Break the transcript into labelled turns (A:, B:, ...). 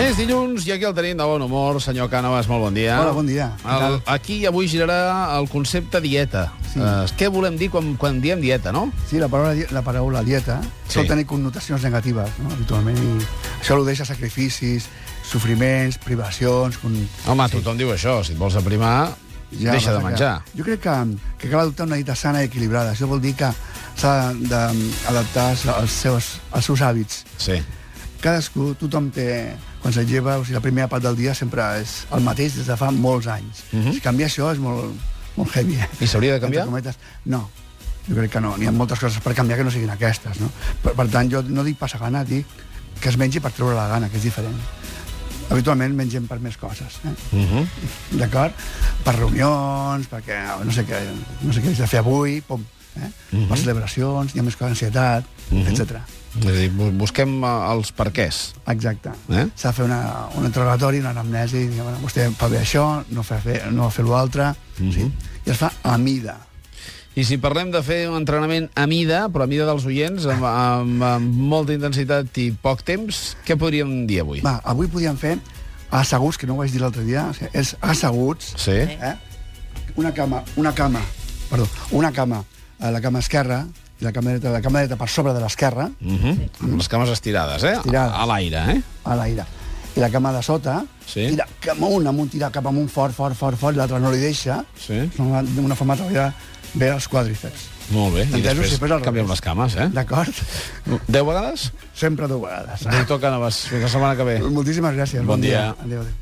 A: És dilluns i aquí el tenim de bon humor, senyor Cànovas, molt bon dia.
B: Hola, bon dia. Què
A: El,
B: tal?
A: aquí avui girarà el concepte dieta. Sí. Eh, què volem dir quan, quan diem dieta, no?
B: Sí, la paraula, di- la paraula dieta
A: Sí.
B: sol tenir connotacions negatives, no? habitualment. I això al·ludeix a sacrificis, sofriments, privacions... Con...
A: Home, sí. tothom diu això, si et vols aprimar, ja, deixa de
B: vas a
A: menjar.
B: Que, jo crec que, que cal adoptar una dieta sana i equilibrada. Això vol dir que s'ha d'adaptar als seus, als seus hàbits.
A: Sí.
B: Cadascú, tothom té... Quan se'n lleva, o sigui, la primera part del dia sempre és el mateix des de fa molts anys. Uh -huh. Canviar això és molt, molt heavy. eh?
A: Mhm. I s'hauria de canviar?
B: Entre cometes, no. Jo crec que no. N'hi ha moltes coses per canviar que no siguin aquestes, no? Per, per tant, jo no dic passa gana, dic que es mengi per treure la gana, que és diferent. Habitualment mengem per més coses, eh?
A: Uh -huh.
B: d'acord? Per reunions, perquè no sé què, no sé què haig de fer avui, pum, eh?
A: Mhm.
B: Per celebracions, hi ha més coses, ansietat, etc.
A: És a dir, bu- busquem eh, els perquès.
B: Exacte.
A: Eh?
B: S'ha de fer una, un interrogatori, una anamnesi, i dir, bueno, vostè fa bé això, no fa fer, no fa fer l'altre, sí? i es fa a mida.
A: I si parlem de fer un entrenament a mida, però a mida dels oients, amb, amb, amb molta intensitat i poc temps, què podríem dir avui?
B: Va, avui podíem fer asseguts, que no ho vaig dir l'altre dia, o sigui, és asseguts,
A: Sí?
B: eh? una cama, una cama, perdó, una cama, eh, la cama esquerra, i la cama dreta, la cama dreta per sobre de l'esquerra,
A: Uh -huh. Amb les cames estirades, eh?
B: Estirades.
A: A, a l'aire, eh?
B: a l'aire, i la cama de sota,
A: Sí.
B: tira cap amunt, amunt, tira cap amunt, fort, fort, fort, fort, l'altre no li deixa,
A: Sí.
B: és una, una forma de treballar bé els quadríceps,
A: Molt bé. I
B: Entesos,
A: després,
B: i després al
A: canviem
B: revés.
A: les cames, eh?
B: d'acord?
A: Deu vegades?
B: Sempre dues vegades.
A: Doctor Cànovas, fins la setmana que ve.
B: Moltíssimes gràcies.
A: Bon dia.
B: Adéu, adéu.